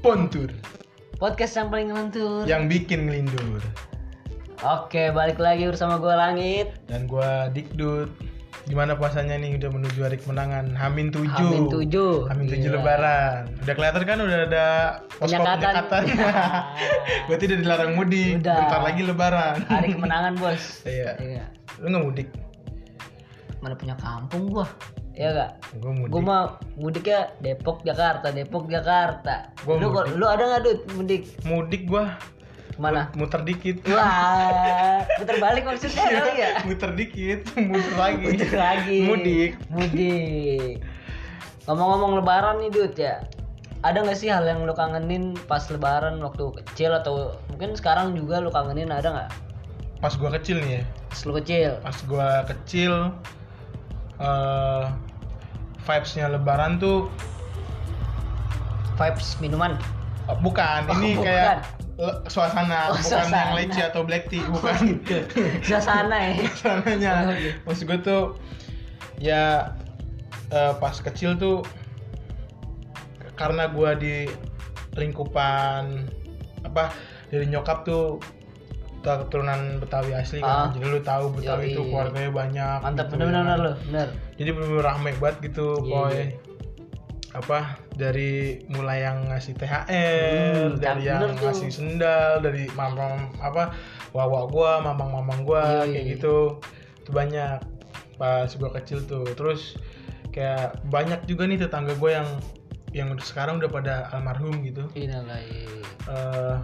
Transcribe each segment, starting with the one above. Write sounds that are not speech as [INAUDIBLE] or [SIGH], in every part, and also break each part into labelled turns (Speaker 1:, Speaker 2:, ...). Speaker 1: Pontur
Speaker 2: Podcast yang paling lentur.
Speaker 1: yang bikin ngelindur
Speaker 2: Oke, balik lagi bersama gue Langit.
Speaker 1: dan gua Dikdut gimana puasanya nih udah menuju hari kemenangan Hamin 7
Speaker 2: Hamin tujuh. Iya.
Speaker 1: Hamin tujuh
Speaker 2: Gila.
Speaker 1: lebaran udah kelihatan kan udah ada posko
Speaker 2: Penyekatan. Iya.
Speaker 1: penyekatan [LAUGHS] berarti udah dilarang mudik
Speaker 2: Udah.
Speaker 1: bentar lagi lebaran
Speaker 2: Hari kemenangan, Bos.
Speaker 1: [LAUGHS] Iya.
Speaker 2: Iya.
Speaker 1: lu nggak mudik
Speaker 2: Mana punya kampung gua? Iya gak?
Speaker 1: gua mudik
Speaker 2: Gue mah mudiknya Depok Jakarta, Depok Jakarta.
Speaker 1: Gua
Speaker 2: lu,
Speaker 1: mudik.
Speaker 2: lu ada nggak Dut mudik?
Speaker 1: mudik gua
Speaker 2: Mana?
Speaker 1: muter
Speaker 2: [LAUGHS]
Speaker 1: dikit
Speaker 2: Wah, puter balik
Speaker 1: [LAUGHS]
Speaker 2: maksudnya
Speaker 1: Iya.
Speaker 2: kali ya?
Speaker 1: muter dikit muter lagi
Speaker 2: Mudik lagi.
Speaker 1: mudik
Speaker 2: Mudik. Ngomong-ngomong lebaran nih Dut ya. Ada nggak sih hal yang lu kangenin pas lebaran waktu kecil atau mungkin sekarang juga lu kangenin ada nggak?
Speaker 1: pas gua kecil nih ya
Speaker 2: Pas lu kecil.
Speaker 1: pas gua kecil eh vibes-nya lebaran tuh
Speaker 2: Vibes minuman. [LAUGHS]
Speaker 1: eh, bukan
Speaker 2: Oh,
Speaker 1: ini
Speaker 2: bukan.
Speaker 1: kayak le- suasana
Speaker 2: Oh,
Speaker 1: bukan yang
Speaker 2: suasana.
Speaker 1: leci atau black tea bukan
Speaker 2: Suasana ya.
Speaker 1: [LAUGHS] suasananya
Speaker 2: Oh, iya.
Speaker 1: maksud gua tuh ya eh, pas kecil tuh karena gua di lingkupan apa dari nyokap tuh keturunan Betawi asli
Speaker 2: Ah.
Speaker 1: kan jadi lu tahu Betawi
Speaker 2: Yoi.
Speaker 1: itu keluarganya banyak
Speaker 2: Mantap
Speaker 1: gitu ya.
Speaker 2: bener-bener lu. Bener.
Speaker 1: jadi bener-bener rame banget gitu
Speaker 2: Iya,
Speaker 1: boy
Speaker 2: iya.
Speaker 1: apa dari mulai yang ngasih THR
Speaker 2: Hmm,
Speaker 1: dari
Speaker 2: bener
Speaker 1: yang
Speaker 2: tuh.
Speaker 1: ngasih sendal dari mamang apa wawa gua mamang mamang gua kayak
Speaker 2: Iya, iya.
Speaker 1: gitu itu banyak pas gua kecil tuh terus kayak banyak juga nih tetangga gua yang yang udah sekarang udah pada almarhum gitu
Speaker 2: Innalillahi.
Speaker 1: eh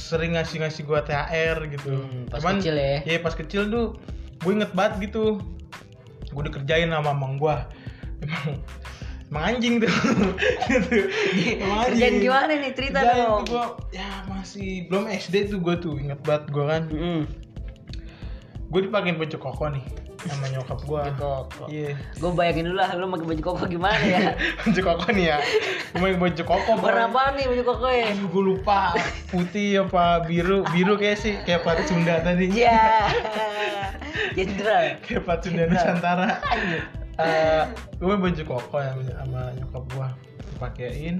Speaker 1: sering ngasih ngasih gua THR gitu
Speaker 2: Hmm, pas kecil ya.
Speaker 1: iya pas kecil tuh gue inget banget gitu gue dikerjain sama mang gua emang emang anjing tuh [LAUGHS] gitu emang
Speaker 2: Kerjaan gimana nih cerita
Speaker 1: Kerjain
Speaker 2: dong.
Speaker 1: tuh gua ya masih belum SD tuh gue tuh inget banget gue kan
Speaker 2: Hmm.
Speaker 1: gue dipakein baju koko nih sama nyokap gua
Speaker 2: Baju koko.
Speaker 1: iya [LAUGHS]
Speaker 2: Gue bayangin dulu lah lu pakai baju koko gimana ya.
Speaker 1: baju koko nih ya gue main baju koko boy.
Speaker 2: Warna apa nih baju koko
Speaker 1: [LAUGHS]
Speaker 2: ya? [LAUGHS]
Speaker 1: Aduh, gue lupa putih apa biru biru kayak sih kayak plat Sunda tadi
Speaker 2: Ya. Jenderal.
Speaker 1: kayak plat Sunda Nusantara
Speaker 2: Iya.
Speaker 1: Eh, gue baju koko ya sama nyokap gue dipakein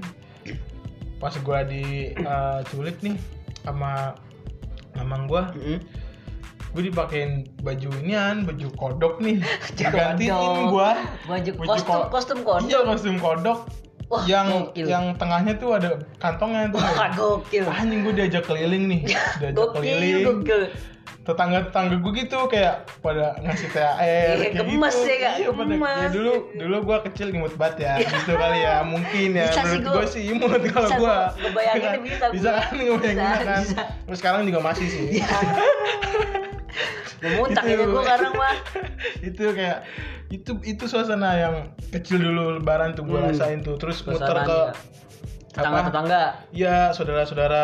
Speaker 1: pas gue di eh, culik nih sama mamang gue
Speaker 2: Mm-mm.
Speaker 1: gue dipakein baju inian baju kodok nih
Speaker 2: [LAUGHS] Baju
Speaker 1: gantiin
Speaker 2: kodok.
Speaker 1: gue
Speaker 2: Baju
Speaker 1: Baju
Speaker 2: kostum
Speaker 1: ko-
Speaker 2: kostum kostum.
Speaker 1: iya kostum kodok
Speaker 2: Wah,
Speaker 1: yang
Speaker 2: gokil.
Speaker 1: yang tengahnya tuh ada kantongnya tuh
Speaker 2: Wah, gokil.
Speaker 1: anjing gue diajak keliling nih
Speaker 2: [LAUGHS]
Speaker 1: diajak
Speaker 2: Gokil,
Speaker 1: keliling
Speaker 2: gokil.
Speaker 1: tetangga tetangga gue gitu kayak pada ngasih THR
Speaker 2: Iya,
Speaker 1: kayak
Speaker 2: gemes
Speaker 1: gitu.
Speaker 2: ya, Kak,
Speaker 1: Iya, pada-
Speaker 2: gemes. gitu. Iya.
Speaker 1: ya, dulu dulu gue kecil imut banget ya gitu kali ya mungkin ya
Speaker 2: Bisa sih
Speaker 1: menurut
Speaker 2: gua-
Speaker 1: gue sih imut kalau
Speaker 2: bisa
Speaker 1: gue
Speaker 2: gua ngebayanginnya bisa
Speaker 1: bisa
Speaker 2: gua.
Speaker 1: kan ngebayanginnya
Speaker 2: Bisa,
Speaker 1: kan
Speaker 2: bisa. Iya.
Speaker 1: terus sekarang juga masih sih
Speaker 2: Gua muntah
Speaker 1: Gitu.
Speaker 2: ini gue sekarang mah.
Speaker 1: itu kayak itu itu suasana yang kecil dulu lebaran tuh gue
Speaker 2: Hmm.
Speaker 1: rasain tuh terus muter
Speaker 2: Suasana iya.
Speaker 1: ke
Speaker 2: nih, Tetangga-tetangga.
Speaker 1: ya saudara-saudara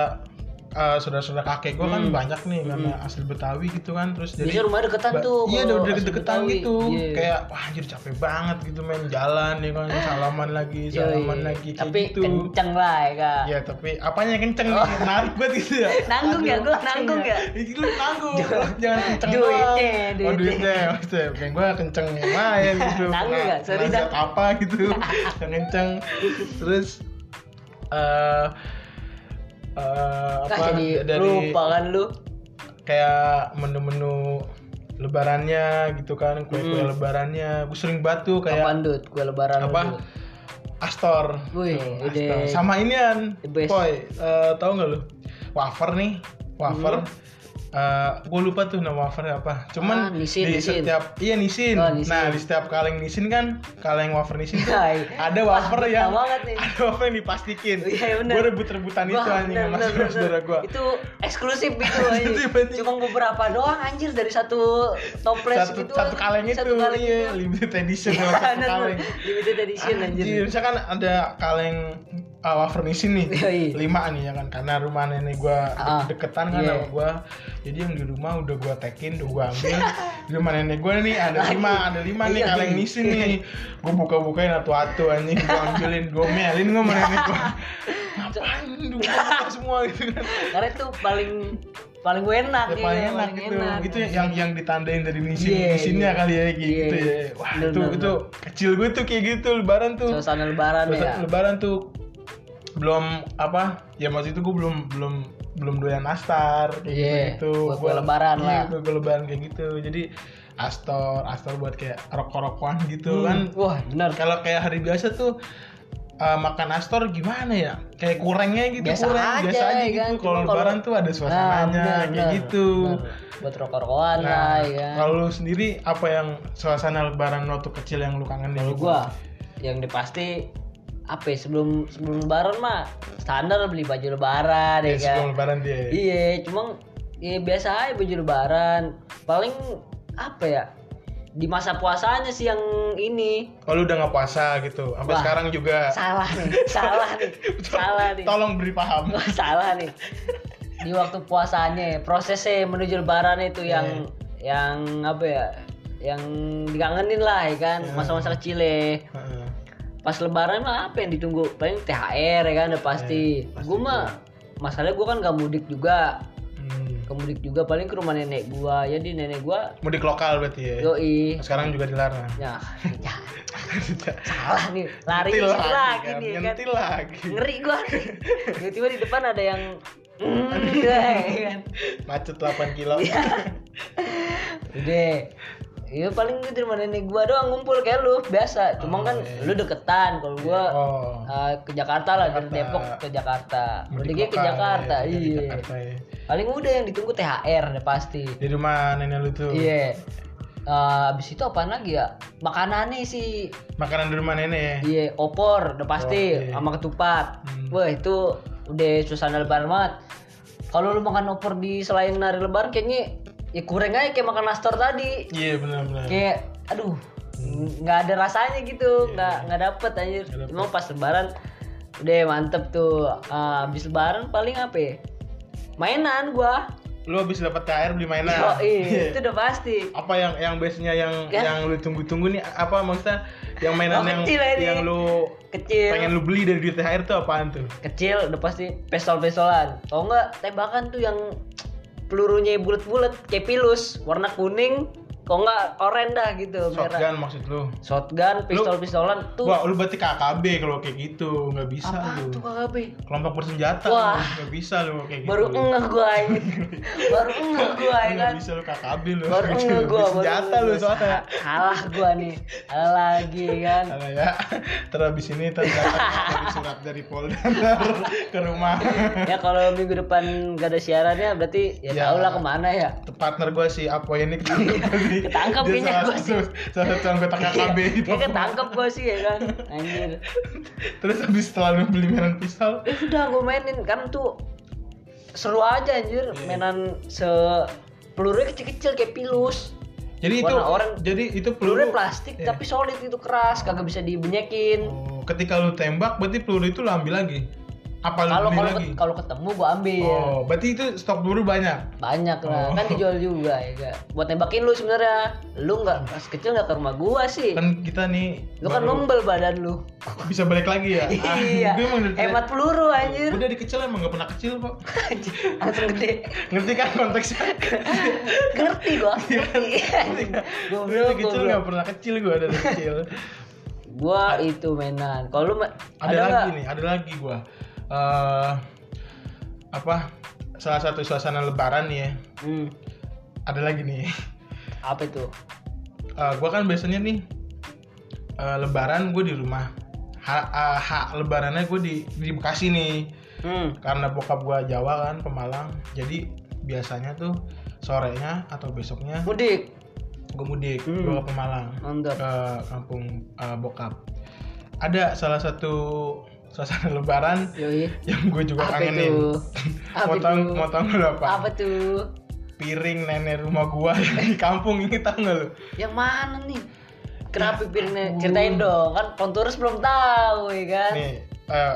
Speaker 1: eh, saudara-saudara kakek gue kan
Speaker 2: Hmm.
Speaker 1: banyak nih karena asli Betawi gitu kan terus jadi
Speaker 2: Biasanya rumah deketan
Speaker 1: Ba-
Speaker 2: tuh.
Speaker 1: iya
Speaker 2: kalau
Speaker 1: udah
Speaker 2: asli
Speaker 1: deket-deketan
Speaker 2: Betawi.
Speaker 1: gitu
Speaker 2: Iya. Ah.
Speaker 1: kayak wah anjir capek banget gitu main jalan ya kan salaman lagi
Speaker 2: Yoi.
Speaker 1: salaman lagi kayak
Speaker 2: Tapi
Speaker 1: gitu
Speaker 2: kenceng Oh. lah ya kak.
Speaker 1: ya tapi apanya yang kenceng nih narik banget gitu
Speaker 2: [LAUGHS]
Speaker 1: ya
Speaker 2: Nanggung ya, gua nanggung ya.
Speaker 1: Ih, lu nanggung jangan kenceng
Speaker 2: Duitnya,
Speaker 1: doang. oh
Speaker 2: duitnya.
Speaker 1: duitnya maksudnya kayak gue kenceng yang
Speaker 2: [LAUGHS]
Speaker 1: lain gitu
Speaker 2: Nanggung
Speaker 1: Nah,
Speaker 2: ya, sorry,
Speaker 1: nasihat
Speaker 2: Dah.
Speaker 1: apa
Speaker 2: [LAUGHS]
Speaker 1: gitu yang kenceng terus eh eh,
Speaker 2: Kak,
Speaker 1: apa
Speaker 2: jadi
Speaker 1: dari
Speaker 2: lupa kan lu.
Speaker 1: kayak menu-menu lebarannya gitu kan kue-kue
Speaker 2: Mm.
Speaker 1: lebarannya gue sering batu kayak
Speaker 2: Kapan dut? Gue lebaran
Speaker 1: Apa?
Speaker 2: dulu.
Speaker 1: astor
Speaker 2: Wih,
Speaker 1: Tuh,
Speaker 2: ide.
Speaker 1: Astor. sama inian
Speaker 2: The best.
Speaker 1: boy eh, tahu nggak lu wafer nih wafer
Speaker 2: Mm.
Speaker 1: gue lupa tuh nama wafernya apa
Speaker 2: Ah,
Speaker 1: cuman
Speaker 2: nisin,
Speaker 1: di
Speaker 2: nisin.
Speaker 1: setiap iya nisin.
Speaker 2: Oh, nisin.
Speaker 1: nah di setiap kaleng nisin kan kaleng wafer nisin tuh
Speaker 2: Hai.
Speaker 1: ada wafer
Speaker 2: betah
Speaker 1: yang
Speaker 2: banget nih.
Speaker 1: [LAUGHS] ada wafer yang dipastikin
Speaker 2: Iya, iya, bener.
Speaker 1: gue rebut-rebutan
Speaker 2: Wah,
Speaker 1: itu anjing
Speaker 2: bener,
Speaker 1: sama
Speaker 2: bener, bener.
Speaker 1: saudara gue
Speaker 2: Itu eksklusif
Speaker 1: [LAUGHS]
Speaker 2: gitu
Speaker 1: Eksklusif,
Speaker 2: aja.
Speaker 1: anjing.
Speaker 2: Cuma beberapa doang anjir dari satu toples
Speaker 1: satu,
Speaker 2: gitu.
Speaker 1: satu kaleng itu
Speaker 2: satu kaleng
Speaker 1: iya
Speaker 2: itu.
Speaker 1: limited edition kalau
Speaker 2: [LAUGHS] Bener,
Speaker 1: satu
Speaker 2: bener.
Speaker 1: kaleng
Speaker 2: Limited edition anjir.
Speaker 1: Anjir, misalkan ada kaleng uh, wafer nisin nih
Speaker 2: Yoi.
Speaker 1: lima nih ya kan karena rumah nenek gua
Speaker 2: Iya, Ah,
Speaker 1: deketan kan
Speaker 2: iya.
Speaker 1: sama gua jadi yang di rumah udah gua tekin udah gua ambil di rumah nenek gua nih ada
Speaker 2: Lagi.
Speaker 1: lima ada lima nih
Speaker 2: Iya,
Speaker 1: kaleng
Speaker 2: iya.
Speaker 1: nisin nih gua buka-bukain satu-satu anjing gua ambilin gua melin gua sama nenek
Speaker 2: [LAUGHS]
Speaker 1: gua ngapain lu buka semua gitu kan
Speaker 2: Karena itu paling paling enak
Speaker 1: Ya, paling enak gitu itu yang yang ditandain dari nisin
Speaker 2: Iya,
Speaker 1: nisinnya
Speaker 2: iya.
Speaker 1: kali ya kayak
Speaker 2: Iya.
Speaker 1: gitu ya wah
Speaker 2: Bener,
Speaker 1: itu
Speaker 2: bener,
Speaker 1: itu kecil gue tuh kayak gitu lebaran tuh
Speaker 2: ya. Suasana lebaran
Speaker 1: Lebaran,
Speaker 2: ya.
Speaker 1: lebaran tuh belum apa ya maksud itu gue belum belum belum doyan nastar kayak
Speaker 2: Iya,
Speaker 1: gitu
Speaker 2: buat kue lebaran lah.
Speaker 1: gue lebaran kayak gitu jadi astor astor buat kayak rokok rokokan gitu kan
Speaker 2: Hmm, wah benar
Speaker 1: kalau kayak hari biasa tuh eh, makan astor gimana ya kayak kurangnya gitu
Speaker 2: Biasa
Speaker 1: kurang
Speaker 2: aja,
Speaker 1: biasa aja
Speaker 2: ya
Speaker 1: gitu
Speaker 2: kan? Cuma
Speaker 1: kalau
Speaker 2: kalau- Ah,
Speaker 1: lebaran tuh ada suasananya
Speaker 2: benar,
Speaker 1: kayak
Speaker 2: benar,
Speaker 1: gitu
Speaker 2: benar. buat rokok-rokokan lah
Speaker 1: Nah,
Speaker 2: ya kan
Speaker 1: kalau lu sendiri apa yang suasana lebaran waktu kecil yang lu kangen
Speaker 2: Kalau gua yang udah pasti apa ya, sebelum sebelum lebaran mah standar beli baju lebaran ya,
Speaker 1: ya,
Speaker 2: kan.
Speaker 1: sebelum lebaran dia
Speaker 2: Iya, cuma ya biasa aja baju lebaran. Paling apa ya? Di masa puasanya sih yang ini
Speaker 1: kalau udah nggak puasa gitu sampai
Speaker 2: Wah.
Speaker 1: sekarang juga
Speaker 2: salah
Speaker 1: [LAUGHS]
Speaker 2: nih, salah nih, salah nih. [LAUGHS]
Speaker 1: tolong beri paham
Speaker 2: Gua salah nih. Di waktu puasanya, prosesnya menuju lebaran itu
Speaker 1: Iya.
Speaker 2: yang yang apa ya? Yang dikangenin lah ya kan,
Speaker 1: Iya.
Speaker 2: masa-masa kecil ya.
Speaker 1: Heeh.
Speaker 2: pas lebaran mah apa yang ditunggu paling THR ya kan udah pasti,
Speaker 1: Iya, pasti
Speaker 2: gue mah masalahnya gue kan gak mudik juga
Speaker 1: Hmm.
Speaker 2: gak mudik juga paling ke rumah nenek gue jadi nenek gue
Speaker 1: mudik lokal berarti ya
Speaker 2: yoi
Speaker 1: sekarang juga
Speaker 2: [LAUGHS]
Speaker 1: dilarang
Speaker 2: ya, ya salah nih lari
Speaker 1: Nyentil
Speaker 2: lagi, lagi
Speaker 1: kan.
Speaker 2: nih kan
Speaker 1: nyentil
Speaker 2: [LAUGHS]
Speaker 1: lagi
Speaker 2: ngeri
Speaker 1: [LAUGHS]
Speaker 2: gue tiba-tiba di depan ada yang mm, ya kan
Speaker 1: macet 8 kilo
Speaker 2: Iya. udah Iya paling gitu di rumah nenek gua doang ngumpul kayak lu biasa. Cuma
Speaker 1: Oh,
Speaker 2: kan
Speaker 1: iya.
Speaker 2: lu deketan kalau gua
Speaker 1: oh
Speaker 2: eh, ke Jakarta lah dari
Speaker 1: Jakarta.
Speaker 2: Depok ke Jakarta. Mudiknya ke
Speaker 1: lokal,
Speaker 2: Jakarta.
Speaker 1: ya, mudik
Speaker 2: iya.
Speaker 1: Jakarta, ya.
Speaker 2: Paling udah yang ditunggu THR udah pasti.
Speaker 1: di rumah nenek lu tuh
Speaker 2: Iya. Eh, abis itu apaan lagi ya? Makanannya sih.
Speaker 1: makanan di rumah nenek
Speaker 2: Iya, opor udah pasti
Speaker 1: Oke.
Speaker 2: sama ketupat.
Speaker 1: Hmm.
Speaker 2: Wah, itu udah suasana lebaran banget. Kalau lu makan opor di selain hari lebaran kayaknya ya kurang aja kayak makan nastar tadi.
Speaker 1: iya benar-benar
Speaker 2: Kayak aduh, nggak ada rasanya gitu, nggak nggak dapet anjir.
Speaker 1: Hmm. Iya, Nggak dapet.
Speaker 2: Emang pas lebaran udah mantep tuh. Ah, abis lebaran paling apa ya? Mainan gua.
Speaker 1: lu habis dapat THR beli mainan [LAUGHS]
Speaker 2: Oh, iya, itu udah pasti.
Speaker 1: apa yang yang biasanya yang
Speaker 2: Ya.
Speaker 1: yang lu tunggu-tunggu nih apa maksudnya yang mainan
Speaker 2: Oh,
Speaker 1: yang
Speaker 2: kecil Iya. ini.
Speaker 1: yang lu
Speaker 2: Kecil.
Speaker 1: pengen lu beli dari duit THR tuh apaan tuh
Speaker 2: Kecil udah pasti pistol-pistolan. Kalau enggak tembakan tuh yang pelurunya bulat-bulat kayak pilus, warna kuning, kalau enggak oranye dah gitu, merah.
Speaker 1: shotgun maksud lu
Speaker 2: Shotgun, pistol-pistolan tuh
Speaker 1: Wah, lu berarti KKB kalau kayak gitu, nggak bisa
Speaker 2: apa tuh
Speaker 1: lu.
Speaker 2: KKB?
Speaker 1: Kelompok bersenjata, lu.
Speaker 2: Wah.
Speaker 1: nggak bisa lu kalau kayak gitu.
Speaker 2: Baru ngeh gua
Speaker 1: [LAUGHS]
Speaker 2: ini. Baru ngeh gua
Speaker 1: Lu
Speaker 2: ya kan.
Speaker 1: nggak bisa lu KKB lu. [LAUGHS]
Speaker 2: Baru ngeh gua, baru
Speaker 1: Bersenjata
Speaker 2: ngeh
Speaker 1: lu
Speaker 2: gua.
Speaker 1: soalnya.
Speaker 2: Kalah gua nih. Kalah lagi
Speaker 1: [LAUGHS]
Speaker 2: kan.
Speaker 1: Karena ya, terhabis ini terus
Speaker 2: [LAUGHS]
Speaker 1: dapat surat dari Polda [LAUGHS] ntar ke rumah.
Speaker 2: Ya kalau minggu depan gak ada siarannya berarti ya,
Speaker 1: Ya.
Speaker 2: tau lah kemana ya.
Speaker 1: partner gue si Apo ini ketangkep tadi.
Speaker 2: [LAUGHS] Ketangkep
Speaker 1: Dia
Speaker 2: kayaknya
Speaker 1: salah
Speaker 2: gua sih.
Speaker 1: satu- salah satu anggota KKB gitu.
Speaker 2: Ya ketangkep gua sih ya kan. Anjir.
Speaker 1: Terus habis setelah lu beli mainan pisau,
Speaker 2: ya udah gue mainin kan tuh seru aja
Speaker 1: Iya.
Speaker 2: anjir mainan se pelurunya kecil-kecil kayak pilus
Speaker 1: jadi itu
Speaker 2: Warna orang-
Speaker 1: jadi itu peluru
Speaker 2: pelurunya plastik
Speaker 1: Iya.
Speaker 2: tapi solid itu keras kagak bisa dibenyekin
Speaker 1: Oh, ketika lu tembak berarti peluru itu lu ambil lagi. Apa lu
Speaker 2: kalau
Speaker 1: beli
Speaker 2: kalau
Speaker 1: Oh. lagi?
Speaker 2: kalau iya. ketemu gue ambil
Speaker 1: Oh, berarti itu stok peluru banyak.
Speaker 2: banyak lah
Speaker 1: Oh.
Speaker 2: kan dijual juga ya kan buat nembakin lu sebenarnya lu nggak pas kecil nggak ke rumah gua sih
Speaker 1: Kan kita nih
Speaker 2: Iya. lu kan
Speaker 1: Hmm. baru
Speaker 2: membel badan lu
Speaker 1: bisa balik
Speaker 2: [LAUGHS]
Speaker 1: lagi ya. Ah,
Speaker 2: iya
Speaker 1: gue emang dari-
Speaker 2: hemat peluru anjir [LAUGHS]
Speaker 1: Gue dari kecil emang gak pernah kecil kok.
Speaker 2: Anjir, langsung gede
Speaker 1: Ngerti kan konteksnya?
Speaker 2: ngerti
Speaker 1: [LAUGHS]
Speaker 2: gua
Speaker 1: Iya,
Speaker 2: ngerti
Speaker 1: Gue
Speaker 2: Goblok,
Speaker 1: dari kecil
Speaker 2: goblok.
Speaker 1: gak pernah kecil gue dari kecil.
Speaker 2: [LAUGHS] gua itu mainan kalau lu ma-
Speaker 1: ada, lagi
Speaker 2: nggak?
Speaker 1: nih, ada lagi gue. Eh apa? Salah satu suasana lebaran nih ya.
Speaker 2: hmm,
Speaker 1: Ada lagi nih. [LAUGHS]
Speaker 2: apa itu
Speaker 1: Eh gue kan biasanya nih eh, lebaran gue di rumah. Hak lebarannya gue di di Bekasi nih.
Speaker 2: hmm.
Speaker 1: karena bokap gua Jawa kan Pemalang jadi biasanya tuh sorenya atau besoknya
Speaker 2: mudik
Speaker 1: gue mudik
Speaker 2: Hmm.
Speaker 1: gua ke Pemalang
Speaker 2: mantap
Speaker 1: ke kampung eh, bokap ada salah satu suasana [LAUGHS] lebaran
Speaker 2: yoi
Speaker 1: yang gue juga
Speaker 2: apa
Speaker 1: kangenin
Speaker 2: itu apa
Speaker 1: motong
Speaker 2: itu
Speaker 1: motong lu apa?
Speaker 2: apa tuh
Speaker 1: piring nenek rumah gua [LAUGHS] yang di kampung ini tau gak lu
Speaker 2: yang mana nih kenapa piringnya
Speaker 1: ampun.
Speaker 2: ceritain dong kan ponturus belum tahu ya kan
Speaker 1: nih eh,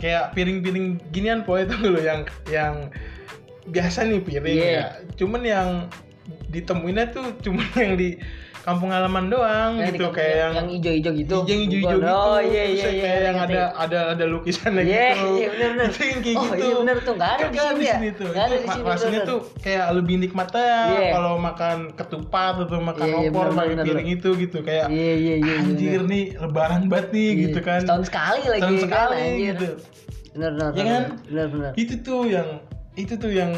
Speaker 1: kayak piring-piring ginian poe itu loh yang yang biasa nih piring
Speaker 2: Iya.
Speaker 1: ya cuman yang ditemuinnya tuh cuman [LAUGHS] yang di kampung halaman doang
Speaker 2: Yang
Speaker 1: gitu
Speaker 2: di-
Speaker 1: kayak yang
Speaker 2: yang hijau-hijau gitu
Speaker 1: yang hijau-hijau gitu
Speaker 2: oh iya
Speaker 1: terus
Speaker 2: iya
Speaker 1: yang
Speaker 2: iya
Speaker 1: kayak yang
Speaker 2: ngerti.
Speaker 1: ada ada ada lukisannya
Speaker 2: Iya,
Speaker 1: gitu
Speaker 2: iya, bener-bener.
Speaker 1: itu [LAUGHS] yang kayak
Speaker 2: Oh,
Speaker 1: gitu
Speaker 2: iya, bener tuh. Nggak ada di
Speaker 1: Nggak
Speaker 2: sini ya?
Speaker 1: tuh
Speaker 2: Nggak ada
Speaker 1: Itu
Speaker 2: di
Speaker 1: ma-
Speaker 2: sini,
Speaker 1: rasanya
Speaker 2: bener-bener.
Speaker 1: tuh kayak lebih nikmat ya
Speaker 2: Iya.
Speaker 1: kalau makan ketupat atau makan
Speaker 2: Iya, iya,
Speaker 1: opor pakai
Speaker 2: bener-bener.
Speaker 1: piring itu gitu kayak
Speaker 2: iya iya iya iya,
Speaker 1: anjir
Speaker 2: bener.
Speaker 1: nih lebaran banget nih
Speaker 2: Iya.
Speaker 1: gitu kan
Speaker 2: setahun sekali lagi
Speaker 1: Setahun
Speaker 2: ya kan,
Speaker 1: sekali
Speaker 2: anjir.
Speaker 1: gitu
Speaker 2: bener bener
Speaker 1: Ya
Speaker 2: bener,
Speaker 1: kan?
Speaker 2: bener bener
Speaker 1: itu tuh yang itu tuh yang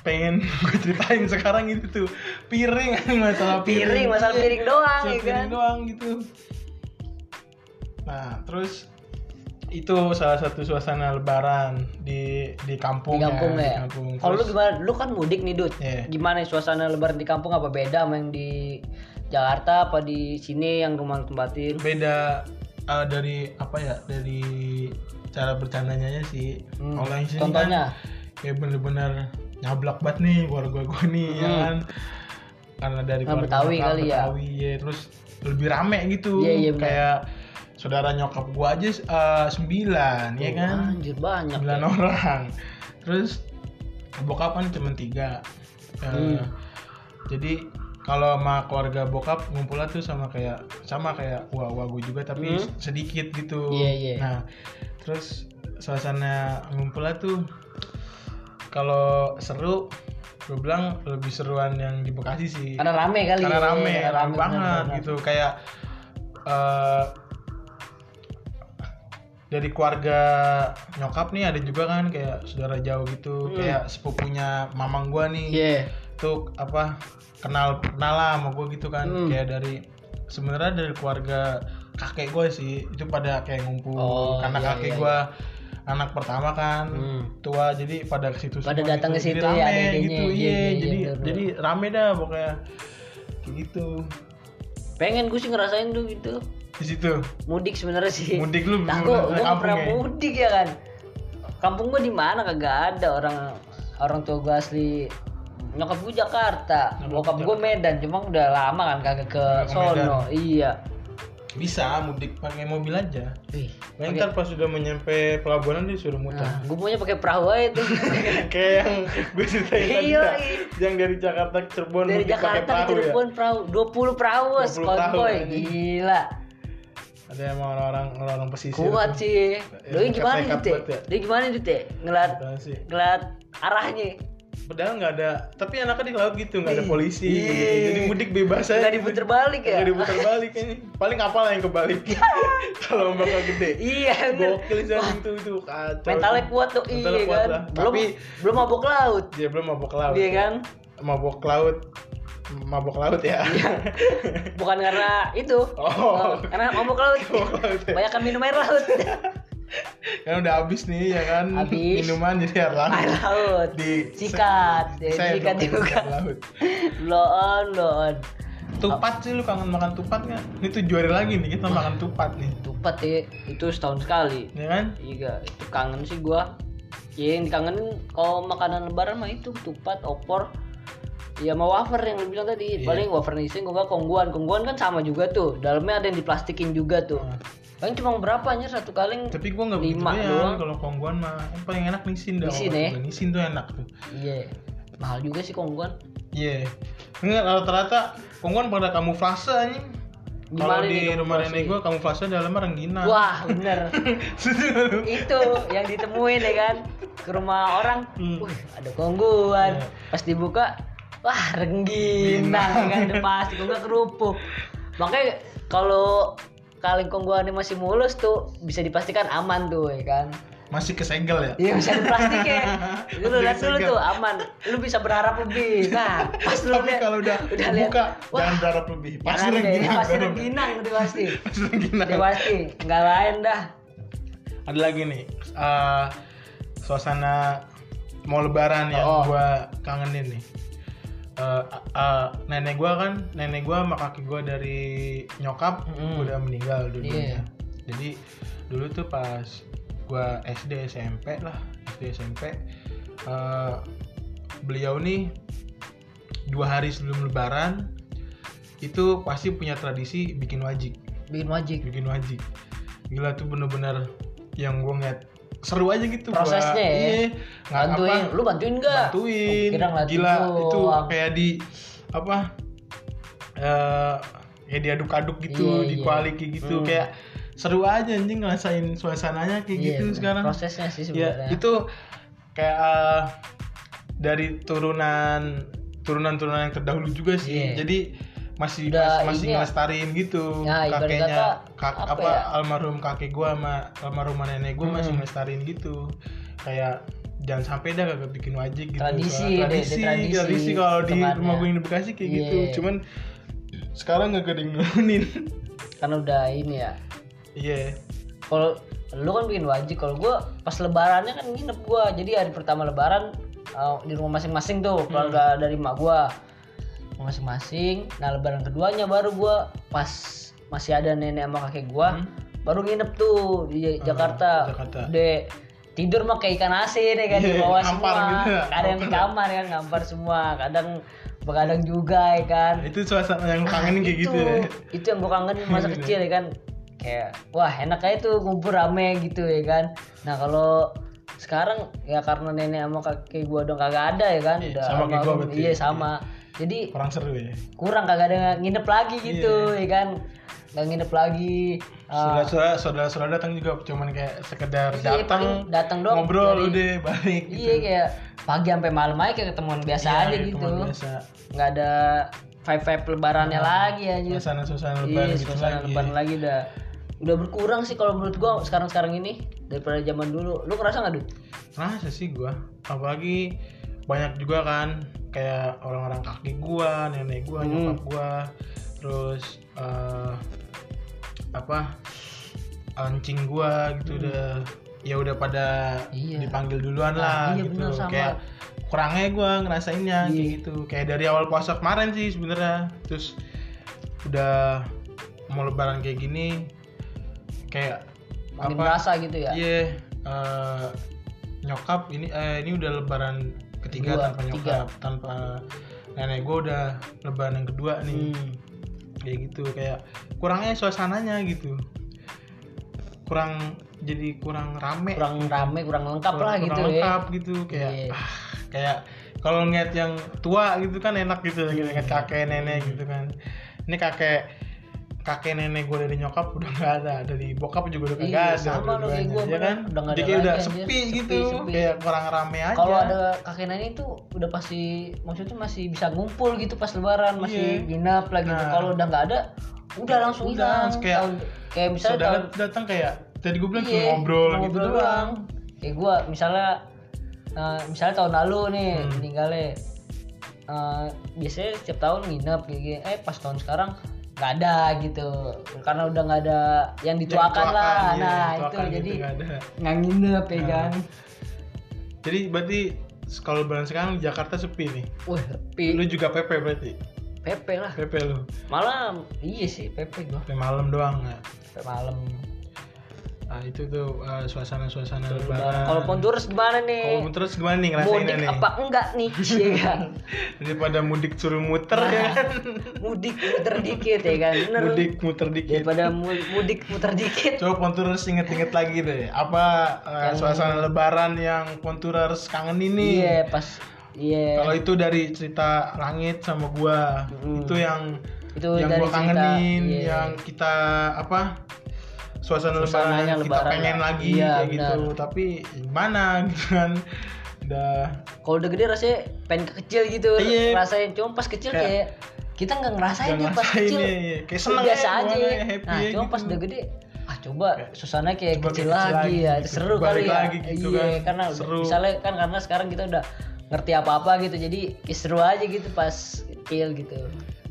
Speaker 1: pengen [LAUGHS] gue ceritain sekarang itu tuh piring [LAUGHS] masalah piring,
Speaker 2: piring masalah piring doang
Speaker 1: Masalah
Speaker 2: ya kan
Speaker 1: piring doang gitu nah terus itu salah satu suasana lebaran di di
Speaker 2: di
Speaker 1: kampung
Speaker 2: kampung
Speaker 1: Iya, di
Speaker 2: ya
Speaker 1: kampung.
Speaker 2: kalau lu
Speaker 1: Terus-
Speaker 2: gimana lu kan mudik nih dud
Speaker 1: Iya.
Speaker 2: gimana ya, suasana lebaran di kampung apa beda sama yang di Jakarta apa di sini yang rumah lu tempatin
Speaker 1: beda uh, dari apa ya dari cara bercandanya sih
Speaker 2: Hmm,
Speaker 1: kalau yang sini kan
Speaker 2: contohnya
Speaker 1: kayak bener-bener nyablak banget nih keluarga gue nih ya
Speaker 2: Hmm.
Speaker 1: kan karena dari
Speaker 2: Karena
Speaker 1: keluarga
Speaker 2: Betawi
Speaker 1: nyokap,
Speaker 2: kali ya.
Speaker 1: Betawi, ya. terus lebih rame gitu
Speaker 2: Iya, iya, benar.
Speaker 1: kayak saudara nyokap gue aja eh, sembilan
Speaker 2: Oh,
Speaker 1: ya kan
Speaker 2: anjir banyak ya.
Speaker 1: sembilan orang terus bokap kan cuma tiga Eh,
Speaker 2: Hmm.
Speaker 1: jadi kalau sama keluarga bokap ngumpulnya tuh sama kayak sama kayak wah wah gue juga tapi
Speaker 2: Hmm.
Speaker 1: sedikit gitu
Speaker 2: Iya, iya.
Speaker 1: nah terus suasana ngumpulnya tuh kalau seru gue bilang lebih seruan yang di Bekasi sih
Speaker 2: karena rame kali
Speaker 1: karena
Speaker 2: ya,
Speaker 1: rame,
Speaker 2: karena
Speaker 1: rame
Speaker 2: bener,
Speaker 1: banget
Speaker 2: bener.
Speaker 1: gitu kayak eh dari keluarga nyokap nih ada juga kan kayak saudara jauh gitu
Speaker 2: Hmm.
Speaker 1: kayak sepupunya mamang gua nih
Speaker 2: Iya.
Speaker 1: tuh apa kenal kenal lah sama gua gitu kan
Speaker 2: Hmm.
Speaker 1: kayak dari sebenarnya dari keluarga kakek gua sih itu pada kayak ngumpul
Speaker 2: Oh,
Speaker 1: karena
Speaker 2: iya,
Speaker 1: kakek
Speaker 2: iya,
Speaker 1: gua anak pertama kan
Speaker 2: Hmm.
Speaker 1: tua jadi pada ke situ
Speaker 2: Pada
Speaker 1: semua
Speaker 2: datang
Speaker 1: gitu.
Speaker 2: ke situ
Speaker 1: Jadi
Speaker 2: ya,
Speaker 1: rame
Speaker 2: adanya.
Speaker 1: gitu
Speaker 2: Iya,
Speaker 1: iya
Speaker 2: iya, iya,
Speaker 1: jadi
Speaker 2: bener,
Speaker 1: jadi rame dah pokoknya kayak gitu
Speaker 2: pengen gue sih ngerasain tuh gitu
Speaker 1: di situ
Speaker 2: mudik sebenarnya sih
Speaker 1: mudik lu
Speaker 2: nah gue
Speaker 1: bener-bener
Speaker 2: gue nggak pernah mudik ya kan kampung gue di mana kagak ada orang orang tua gue asli nyokap gue Jakarta
Speaker 1: Nyokap
Speaker 2: bokap
Speaker 1: Jakarta.
Speaker 2: gue Medan cuma udah lama kan kagak ke
Speaker 1: ke
Speaker 2: sono iya
Speaker 1: bisa mudik pakai mobil aja
Speaker 2: Wih,
Speaker 1: Nah, ntar pas sudah menyampe pelabuhan dia suruh muter
Speaker 2: nah, gue punya pakai perahu aja tuh
Speaker 1: [LAUGHS] kayak yang gue ceritain tadi
Speaker 2: Iya,
Speaker 1: dah.
Speaker 2: iya.
Speaker 1: yang dari Jakarta ke Cirebon
Speaker 2: dari
Speaker 1: mudik pakai
Speaker 2: Jakarta ke
Speaker 1: perahu ya
Speaker 2: Cirebon perahu 20 perahu
Speaker 1: 20
Speaker 2: konvoy
Speaker 1: perahu, anjing.
Speaker 2: gila
Speaker 1: ada emang orang-orang orang pesisir
Speaker 2: kuat
Speaker 1: tuh.
Speaker 2: sih
Speaker 1: Ya,
Speaker 2: doi gimana
Speaker 1: nekat-nekat
Speaker 2: gitu
Speaker 1: banget ya.
Speaker 2: doi gimana gitu ngeliat
Speaker 1: Apaan sih
Speaker 2: ngeliat arahnya
Speaker 1: padahal nggak ada tapi anaknya di laut gitu nggak ada polisi
Speaker 2: Iya.
Speaker 1: gitu. jadi mudik bebas aja
Speaker 2: nggak
Speaker 1: gitu.
Speaker 2: diputer balik ya
Speaker 1: Gak diputar balik ini. Paling kapal yang
Speaker 2: [LAUGHS]
Speaker 1: kebalik. [LAUGHS] Kalau bakal gede.
Speaker 2: iya bener
Speaker 1: Gokil sih anjing tuh itu kacau.
Speaker 2: mentalnya kuat tuh
Speaker 1: Mentalnya
Speaker 2: iya
Speaker 1: kuat
Speaker 2: kan
Speaker 1: lah.
Speaker 2: belum
Speaker 1: Tapi
Speaker 2: belum mabok laut
Speaker 1: dia belum mabok laut.
Speaker 2: iya kan
Speaker 1: Mabok laut. Mabok laut ya.
Speaker 2: Iya. bukan karena itu
Speaker 1: Oh.
Speaker 2: karena mabok laut
Speaker 1: [LAUGHS] Mabok laut ya.
Speaker 2: banyak minum air
Speaker 1: [LAUGHS]
Speaker 2: laut
Speaker 1: [LAUGHS] Kan udah habis nih ya kan.
Speaker 2: Habis.
Speaker 1: Minuman jadi air laut.
Speaker 2: air laut
Speaker 1: Di
Speaker 2: sikat ya,
Speaker 1: Saya
Speaker 2: sikat
Speaker 1: dong,
Speaker 2: juga
Speaker 1: air
Speaker 2: [LAUGHS]
Speaker 1: laut.
Speaker 2: blow on blow on
Speaker 1: Tupat sih lu kangen makan tupat nggak? Ini tujuh hari lagi nih kita makan tupat nih.
Speaker 2: tupat ya itu setahun sekali
Speaker 1: Ya kan?
Speaker 2: iya itu kangen sih gua ya yang dikangenin kalau makanan lebaran mah itu tupat opor ya sama wafer yang lu bilang tadi
Speaker 1: Iya.
Speaker 2: paling wafer nising gua nggak kongguan kongguan kan sama juga tuh dalamnya ada yang diplastikin juga tuh
Speaker 1: Nah,
Speaker 2: Paling cuma berapa anjir satu kaleng?
Speaker 1: Tapi gua nggak begitu
Speaker 2: Lima doang.
Speaker 1: doang kalau kongguan mah yang paling enak nisin dah.
Speaker 2: Nisin
Speaker 1: kalau
Speaker 2: ya?
Speaker 1: gua. Nisin tuh enak tuh.
Speaker 2: Iya. Mahal juga sih kongguan.
Speaker 1: Iya. Enggak rata-rata kongguan pada kamuflase anjing. Kalau
Speaker 2: Gimana
Speaker 1: di
Speaker 2: nih
Speaker 1: rumah
Speaker 2: kamuflase?
Speaker 1: nenek gua kamuflase dalamnya rengginang.
Speaker 2: Wah, bener.
Speaker 1: Setuju.
Speaker 2: itu yang ditemuin ya kan ke rumah orang.
Speaker 1: Hmm.
Speaker 2: Wih, ada kongguan.
Speaker 1: Iya.
Speaker 2: Pas dibuka, wah rengginang
Speaker 1: Rengginang.
Speaker 2: kan ada pasti kongguan kerupuk. Makanya kalau kaleng kongguannya masih mulus tuh bisa dipastikan aman tuh ya kan.
Speaker 1: [LAUGHS] Masih kesegel ya.
Speaker 2: Iya bisa di plastik ya. Lu
Speaker 1: Masih
Speaker 2: lihat dulu
Speaker 1: kesegel.
Speaker 2: tuh aman. Lu bisa berharap lebih. Nah, pas lu
Speaker 1: kan. Tapi
Speaker 2: lihat-
Speaker 1: kalau udah,
Speaker 2: lihat,
Speaker 1: buka
Speaker 2: wah,
Speaker 1: jangan berharap lebih. Pasti
Speaker 2: Jangan deh,
Speaker 1: rengginang.
Speaker 2: Pasti rengginang udah pasti.
Speaker 1: [LAUGHS] Pasti rengginang.
Speaker 2: Udah pasti, nggak lain dah.
Speaker 1: Ada lagi nih. eh, suasana mau lebaran yang
Speaker 2: Oh.
Speaker 1: gua kangenin nih. Eh, eh, nenek gua kan, nenek gua sama kaki gua dari nyokap
Speaker 2: Mm.
Speaker 1: udah meninggal dulunya.
Speaker 2: Iya.
Speaker 1: Jadi dulu tuh pas gua SD SMP lah, SD SMP eh, beliau nih dua hari sebelum lebaran itu pasti punya tradisi bikin wajik,
Speaker 2: Bikin wajik.
Speaker 1: bikin wajik. Gila tuh bener-bener yang gua ngeliat seru aja gitu gua.
Speaker 2: Prosesnya ya?
Speaker 1: Iya, nggak
Speaker 2: Bantuin,
Speaker 1: apa-
Speaker 2: lu bantuin nggak?
Speaker 1: bantuin
Speaker 2: Oh, kira ngeliatin
Speaker 1: gila itu
Speaker 2: doang.
Speaker 1: kayak di apa eh ya diaduk-aduk gitu
Speaker 2: Iya,
Speaker 1: di
Speaker 2: iya.
Speaker 1: kualiki gitu
Speaker 2: Hmm.
Speaker 1: kayak seru aja anjing ngerasain suasananya kayak
Speaker 2: Iya,
Speaker 1: gitu
Speaker 2: bener.
Speaker 1: sekarang
Speaker 2: Prosesnya sih
Speaker 1: ya
Speaker 2: sebenarnya.
Speaker 1: itu kayak eh, dari turunan turunan-turunan yang terdahulu juga sih
Speaker 2: Iya.
Speaker 1: jadi masih
Speaker 2: Udah
Speaker 1: masih
Speaker 2: ini ya.
Speaker 1: ngelestarin gitu
Speaker 2: Ya, ibarat kata,
Speaker 1: kakeknya kak,
Speaker 2: apa
Speaker 1: apa,
Speaker 2: ya?
Speaker 1: almarhum kakek gua sama almarhum nenek gua masih
Speaker 2: Hmm.
Speaker 1: ngelestarin gitu kayak jangan sampai dah kagak bikin wajib gitu
Speaker 2: Tradisi,
Speaker 1: Soalnya
Speaker 2: deh, deh,
Speaker 1: tradisi
Speaker 2: tradisi,
Speaker 1: tradisi, kalau di
Speaker 2: tempatnya.
Speaker 1: rumah gue yang di Bekasi kayak gitu
Speaker 2: Iya.
Speaker 1: cuman sekarang nggak keding nurunin [LAUGHS]
Speaker 2: Karena udah ini ya.
Speaker 1: iya
Speaker 2: Kalau lu kan bikin wajib, kalau gua pas lebarannya kan nginep gua. Jadi hari pertama lebaran eh, di rumah masing-masing
Speaker 1: Hmm.
Speaker 2: tuh keluarga dari emak gua. Rumah masing-masing. Nah, lebaran keduanya baru gua pas masih ada nenek sama kakek gua,
Speaker 1: Hmm. Oh,
Speaker 2: baru nginep tuh di Jakarta.
Speaker 1: Jakarta.
Speaker 2: De tidur mah kayak ikan asin ya kan di
Speaker 1: Iya,
Speaker 2: bawah
Speaker 1: ngampar
Speaker 2: semua.
Speaker 1: gitu ya.
Speaker 2: Kadang di kamar ya ngampar semua, kadang begadang juga ya kan
Speaker 1: itu suasana yang lu kangenin kayak gitu ya.
Speaker 2: Nah, itu yang gue kangen
Speaker 1: [LAUGHS]
Speaker 2: masa kecil ya kan kayak wah enak aja tuh ngumpul rame gitu ya kan nah kalau sekarang ya karena nenek sama kakek gue udah kagak ada ya kan
Speaker 1: Iya,
Speaker 2: udah
Speaker 1: sama kayak gua
Speaker 2: almarhum.
Speaker 1: berarti.
Speaker 2: iya sama jadi
Speaker 1: kurang seru ya
Speaker 2: kurang kagak ada nginep lagi gitu
Speaker 1: Iya.
Speaker 2: ya kan nggak nginep lagi Ah,
Speaker 1: saudara-saudara saudara-saudara datang juga cuman kayak sekedar
Speaker 2: Iya, paling
Speaker 1: datang
Speaker 2: datang doang dari-
Speaker 1: ngobrol udah balik gitu.
Speaker 2: iya kayak pagi sampai malam aja kayak ketemuan biasa
Speaker 1: Iya,
Speaker 2: aja
Speaker 1: kayak
Speaker 2: gitu
Speaker 1: teman biasa Iya.
Speaker 2: nggak ada vibe vibe lebarannya lagi aja
Speaker 1: suasana-suasana lebaran
Speaker 2: Iya,
Speaker 1: gitu
Speaker 2: suasana
Speaker 1: lagi
Speaker 2: lebaran lagi udah udah berkurang sih kalau menurut gua sekarang-sekarang ini daripada zaman dulu. Lu ngerasa nggak, Dut?
Speaker 1: Rasa sih gua apalagi banyak juga kan kayak orang-orang kaki gua nenek gua
Speaker 2: Hmm.
Speaker 1: nyokap gua terus eh, apa anjing gua gitu udah ya udah pada
Speaker 2: Hmm. Iya.
Speaker 1: dipanggil duluan
Speaker 2: Ah,
Speaker 1: lah
Speaker 2: iya,
Speaker 1: gitu
Speaker 2: bener, sama.
Speaker 1: kayak kurangnya gua ngerasainnya
Speaker 2: Iya.
Speaker 1: kayak gitu kayak dari awal puasa kemarin sih sebenarnya terus udah mau lebaran kayak gini kayak
Speaker 2: Makin merasa gitu ya.
Speaker 1: Iya, eh, nyokap ini eh, ini udah lebaran ketiga
Speaker 2: Kedua,
Speaker 1: tanpa
Speaker 2: ketiga.
Speaker 1: nyokap, tanpa nenek gue udah lebaran yang kedua nih.
Speaker 2: Hmm.
Speaker 1: Kayak gitu kayak kurangnya suasananya gitu. Kurang jadi kurang rame,
Speaker 2: Kurang rame, kurang lengkap
Speaker 1: kurang
Speaker 2: lah gitu ya.
Speaker 1: lengkap gitu kayak
Speaker 2: Iya.
Speaker 1: ah, kayak kalau ngeliat yang tua gitu kan enak gitu ngeliat kakek nenek gitu kan. Ini kakek kakek nenek gue dari nyokap udah [LAUGHS] gak ada dari bokap juga udah
Speaker 2: Iya,
Speaker 1: kagak ada
Speaker 2: sama lu kayak
Speaker 1: dua-duanya,
Speaker 2: gua,
Speaker 1: ya
Speaker 2: bener.
Speaker 1: kan
Speaker 2: Udah nggak ada
Speaker 1: jadi kayak udah
Speaker 2: lagi, anjir.
Speaker 1: sepi
Speaker 2: Sepi,
Speaker 1: gitu
Speaker 2: sepi.
Speaker 1: kayak kurang rame aja
Speaker 2: Kalau ada kakek nenek itu udah pasti maksudnya masih bisa ngumpul gitu pas lebaran, masih
Speaker 1: Iya.
Speaker 2: nginep lagi. gitu.
Speaker 1: Nah.
Speaker 2: Kalau udah nggak ada, udah langsung
Speaker 1: Udah,
Speaker 2: hilang.
Speaker 1: kayak
Speaker 2: Tahun- kayak misalnya
Speaker 1: saudara
Speaker 2: tahun-
Speaker 1: datang kayak tadi gue bilang cuma
Speaker 2: Iya,
Speaker 1: ngobrol,
Speaker 2: cuma
Speaker 1: gitu
Speaker 2: ngobrol
Speaker 1: doang
Speaker 2: Kayak gue misalnya eh, misalnya tahun lalu nih
Speaker 1: Hmm.
Speaker 2: meninggalnya eh, biasanya setiap tahun nginep kayak gini. eh pas tahun sekarang nggak ada gitu karena udah nggak ada yang dituakan
Speaker 1: Yang
Speaker 2: lah
Speaker 1: iya,
Speaker 2: nah
Speaker 1: yang
Speaker 2: itu
Speaker 1: dituakan gitu,
Speaker 2: jadi
Speaker 1: nggak ada.
Speaker 2: nggak nginep ya
Speaker 1: Nah.
Speaker 2: kan
Speaker 1: jadi berarti kalau lebaran sekarang Jakarta sepi nih
Speaker 2: wah sepi
Speaker 1: lu juga PP berarti
Speaker 2: pepe lah
Speaker 1: PP lu
Speaker 2: malam iya sih pepe gua
Speaker 1: sampai malam doang ya
Speaker 2: Sampai malam
Speaker 1: nah itu tuh eh, suasana-suasana lebaran
Speaker 2: kalau Ponturus gimana
Speaker 1: kalau
Speaker 2: nih
Speaker 1: terus gimana nih ngerasainnya
Speaker 2: mudik
Speaker 1: nih
Speaker 2: apa enggak nih iya kan
Speaker 1: daripada mudik suruh muter
Speaker 2: Nah,
Speaker 1: ya
Speaker 2: [LAUGHS]
Speaker 1: kan
Speaker 2: mudik muter dikit ya kan bener
Speaker 1: mudik muter dikit
Speaker 2: daripada mu- mudik muter
Speaker 1: [LAUGHS]
Speaker 2: dikit
Speaker 1: coba Ponturers inget-inget lagi deh apa eh,
Speaker 2: Yang-
Speaker 1: suasana lebaran yang Ponturers kangen ini
Speaker 2: iya pas iya
Speaker 1: kalau itu dari cerita langit sama gua
Speaker 2: Mm.
Speaker 1: itu yang
Speaker 2: itu
Speaker 1: yang
Speaker 2: dari
Speaker 1: gua
Speaker 2: cerita
Speaker 1: kangenin
Speaker 2: iya.
Speaker 1: yang kita apa suasana lebaran
Speaker 2: Suasananya
Speaker 1: yang kita
Speaker 2: lebaran
Speaker 1: pengen
Speaker 2: lah.
Speaker 1: lagi
Speaker 2: Iya,
Speaker 1: kayak gitu tapi gimana [LAUGHS] gitu kan udah
Speaker 2: kalau udah gede rasanya pengen ke kecil gitu
Speaker 1: Iya.
Speaker 2: rasain cuma pas kecil
Speaker 1: Kayak-
Speaker 2: kayak kita nggak ngerasain
Speaker 1: jangan
Speaker 2: tuh pas
Speaker 1: rasain
Speaker 2: kecil
Speaker 1: ya, iya. kayak seneng
Speaker 2: biasa
Speaker 1: ya,
Speaker 2: aja
Speaker 1: gimana ya, happy
Speaker 2: nah
Speaker 1: ya
Speaker 2: cuma
Speaker 1: gitu.
Speaker 2: pas udah gede ah coba
Speaker 1: Kayak-
Speaker 2: suasana kayak
Speaker 1: coba kayak kecil
Speaker 2: kecil, lagi
Speaker 1: lagi
Speaker 2: ya
Speaker 1: gitu.
Speaker 2: seru
Speaker 1: Balik
Speaker 2: kali ya
Speaker 1: lagi gitu
Speaker 2: iya
Speaker 1: kan.
Speaker 2: karena udah-
Speaker 1: Seru.
Speaker 2: misalnya kan karena sekarang kita udah ngerti apa apa gitu jadi kayak seru aja gitu pas kecil gitu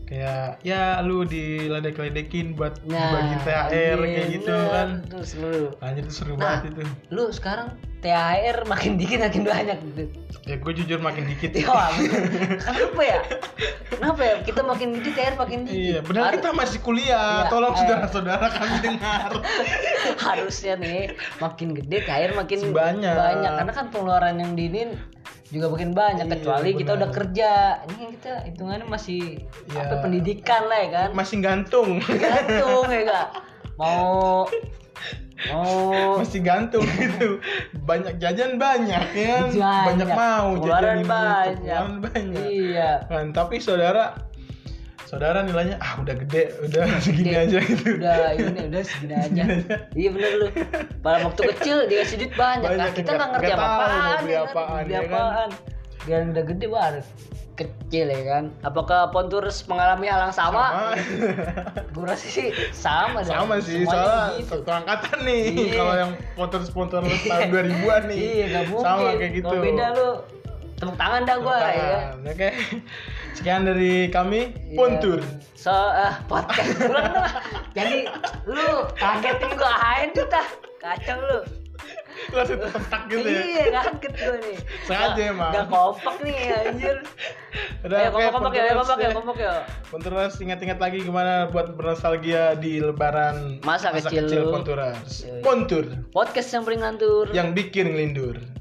Speaker 1: kayak ya lu diledek-ledekin buat
Speaker 2: nah
Speaker 1: bagiin THR
Speaker 2: iya,
Speaker 1: kayak gitu
Speaker 2: bener.
Speaker 1: kan
Speaker 2: Tuh, seru
Speaker 1: anjir itu seru
Speaker 2: Nah.
Speaker 1: banget itu
Speaker 2: lu sekarang THR makin dikit makin banyak gitu.
Speaker 1: ya gue jujur makin
Speaker 2: [LAUGHS]
Speaker 1: dikit
Speaker 2: Ya, bener. kenapa ya? Kenapa ya? Kita makin gede THR makin dikit.
Speaker 1: Iya, benar
Speaker 2: Har-
Speaker 1: kita masih kuliah.
Speaker 2: Iya,
Speaker 1: Tolong
Speaker 2: eh.
Speaker 1: saudara-saudara kami
Speaker 2: [LAUGHS]
Speaker 1: dengar.
Speaker 2: harusnya nih makin gede THR makin
Speaker 1: Banyak.
Speaker 2: banyak. Karena kan pengeluaran yang diinin juga makin banyak
Speaker 1: Iya,
Speaker 2: kecuali kita
Speaker 1: benar.
Speaker 2: udah kerja. Ini kan kita hitungannya masih
Speaker 1: Iya.
Speaker 2: apa pendidikan lah ya kan.
Speaker 1: Masih gantung.
Speaker 2: Gantung ya kak. Mau mau
Speaker 1: Masih gantung gitu. Banyak jajan banyak ya. kan?
Speaker 2: Banyak.
Speaker 1: Banyak mau
Speaker 2: Pengeluaran
Speaker 1: jajan ini,
Speaker 2: banyak.
Speaker 1: pengeluaran banyak.
Speaker 2: iya.
Speaker 1: Kan, tapi saudara saudara nilainya ah udah gede, udah segini
Speaker 2: Gede.
Speaker 1: aja gitu.
Speaker 2: udah ini udah
Speaker 1: [LAUGHS]
Speaker 2: segini aja iya bener lu pada waktu kecil dikasih duit banyak,
Speaker 1: Banyak,
Speaker 2: Nah, kita
Speaker 1: nggak-
Speaker 2: nggak ngerti
Speaker 1: nggak
Speaker 2: apa
Speaker 1: tahu
Speaker 2: apaan ya kan?
Speaker 1: mau beli apaan,
Speaker 2: beli
Speaker 1: ya kan?
Speaker 2: apaan yang udah gede baru kecil ya kan apakah Ponturus mengalami hal yang sama
Speaker 1: sama
Speaker 2: gue rasa sih sama dong.
Speaker 1: sama sih
Speaker 2: Semuanya
Speaker 1: soalnya
Speaker 2: gitu.
Speaker 1: satu angkatan nih
Speaker 2: Iya.
Speaker 1: kalau yang sponsor-sponsor tahun 2000-an nih
Speaker 2: [LAUGHS] iya gak mungkin
Speaker 1: sama kayak gitu
Speaker 2: kalau beda lu tepuk tangan dah gue ya kan?
Speaker 1: Tangan. oke sekian dari kami
Speaker 2: Iya.
Speaker 1: Pontur
Speaker 2: so eh, podcast [LAUGHS] ulang dah. jadi lu kagetin gue ahain tuh tah kacau lu
Speaker 1: langsung tetap gitu ya
Speaker 2: iya kaget gue nih
Speaker 1: Sengaja
Speaker 2: Udah-
Speaker 1: emang.
Speaker 2: udah kompak nih anjir
Speaker 1: udah
Speaker 2: ayo
Speaker 1: oke
Speaker 2: kompak kompak ya ayo
Speaker 1: Ponturus
Speaker 2: kompak ya
Speaker 1: deh.
Speaker 2: kompak ya
Speaker 1: Ponturers ingat-ingat lagi gimana buat bernostalgia di lebaran
Speaker 2: Masa kecil lu. Iya,
Speaker 1: Ponturers.
Speaker 2: Yoi.
Speaker 1: Pontur
Speaker 2: podcast yang beringantur
Speaker 1: yang bikin ngelindur.